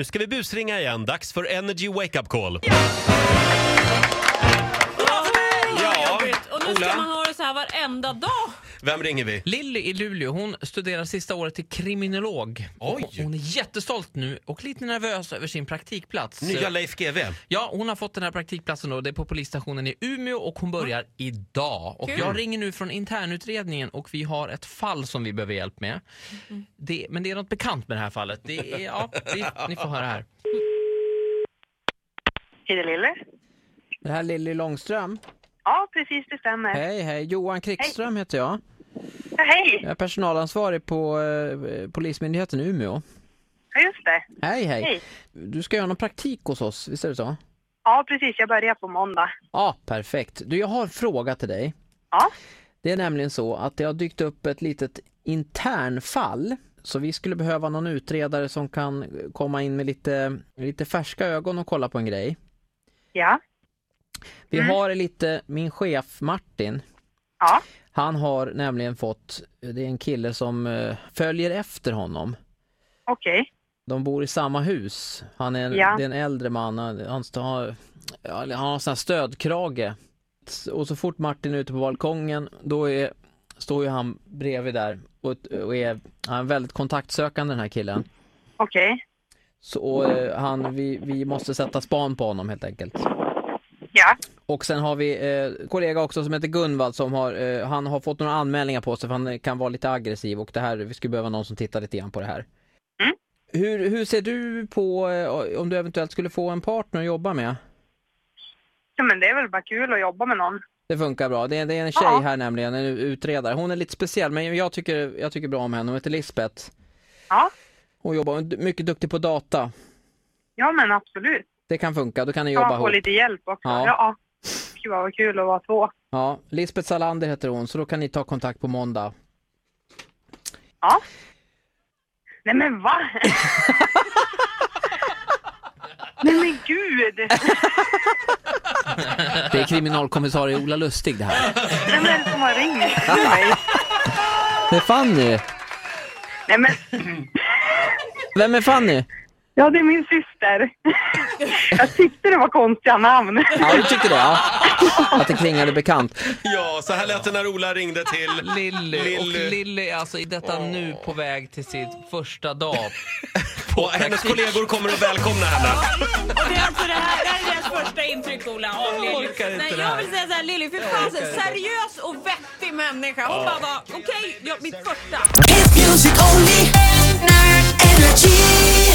Nu ska vi busringa igen. Dags för Energy Wake Up Call. Ja, Ja, jobbigt. Och nu Ola. ska man ha det så här varenda dag. Vem ringer vi? Lilly i Luleå hon studerar sista året till kriminolog. Och Oj. Hon är jättestolt nu och lite nervös över sin praktikplats. Nya Leif GW. Ja, hon har fått den här praktikplatsen då. Det är på polisstationen i Umeå och hon börjar idag. Och Kul. jag ringer nu från internutredningen och vi har ett fall som vi behöver hjälp med. Det, men det är något bekant med det här fallet. Det är, ja, vi, ni får höra här. Är det Lille? Det här är Lilly Långström. Ja, precis det stämmer. Hej, hej. Johan Krickström heter jag. Ja, Hej! Jag är personalansvarig på eh, Polismyndigheten i Umeå. Ja, just det. Hej, hej. Hej. Du ska göra någon praktik hos oss, visst är det så? Ja, precis. Jag börjar på måndag. Ja, perfekt. Du, jag har en fråga till dig. Ja, Det är nämligen så att det har dykt upp ett litet internfall. Så vi skulle behöva någon utredare som kan komma in med lite, lite färska ögon och kolla på en grej. ja, Vi har lite, min chef Martin, ja, han har nämligen fått, det är en kille som eh, följer efter honom. okej. De bor i samma hus. Han är en, Ja. det är en äldre man. Han, han, sta- har- ja, han har en sån här stödkrage. Och så fort Martin är ute på balkongen då är, står ju han bredvid där och, och är, han är väldigt kontaktsökande den här killen. Okej. Så och, eh, han, vi, vi måste sätta span på honom helt enkelt. Ja, Och sen har vi eh, en kollega också som heter Gunvald som har, eh, han har fått några anmälningar på sig för han eh, kan vara lite aggressiv och det här, vi skulle behöva någon som tittar lite grann på det här. Mm. Hur, hur ser du på eh, om du eventuellt skulle få en partner att jobba med? ja, men det är väl bara kul att jobba med någon. Det funkar bra. Det är, det är en tjej Ja. här nämligen, en utredare. Hon är lite speciell men jag tycker, jag tycker bra om henne. Hon heter Lisbeth. Ja, Hon jobbar, hon är du- mycket duktig på data. ja men absolut. Det kan funka, då kan ni jobba Ja, ihop. och lite hjälp också. Ja. Ja. Gud, vad kul att vara två. Ja, Lisbeth Salander heter hon så då kan ni ta kontakt på måndag. Ja. Nej, men va? Nej, men gud! Det är kriminalkommissarie Ola Lustig det här. Vem är det som har ringt till mig? Det är Fanny! Nej, men... Vem är Fanny? Ja, det är min syster. Jag tyckte det var konstiga namn. Ja, du tyckte det? Ja. Att det klingade bekant. Ja, så här lät det när Ola ringde till... Lilly, Lilly. och Lilly är alltså i detta nu på väg till sin första dag. Och hennes kollegor kommer att välkomna henne. Och det är alltså det här, det här är deras första intryck Ola av Lilly. orkar inte Nej, det jag här. vill säga så här Lilly, för fan så seriös och vettig människa. Hon bara var, okej, ja, mitt första. Hit music only. Nerd energy.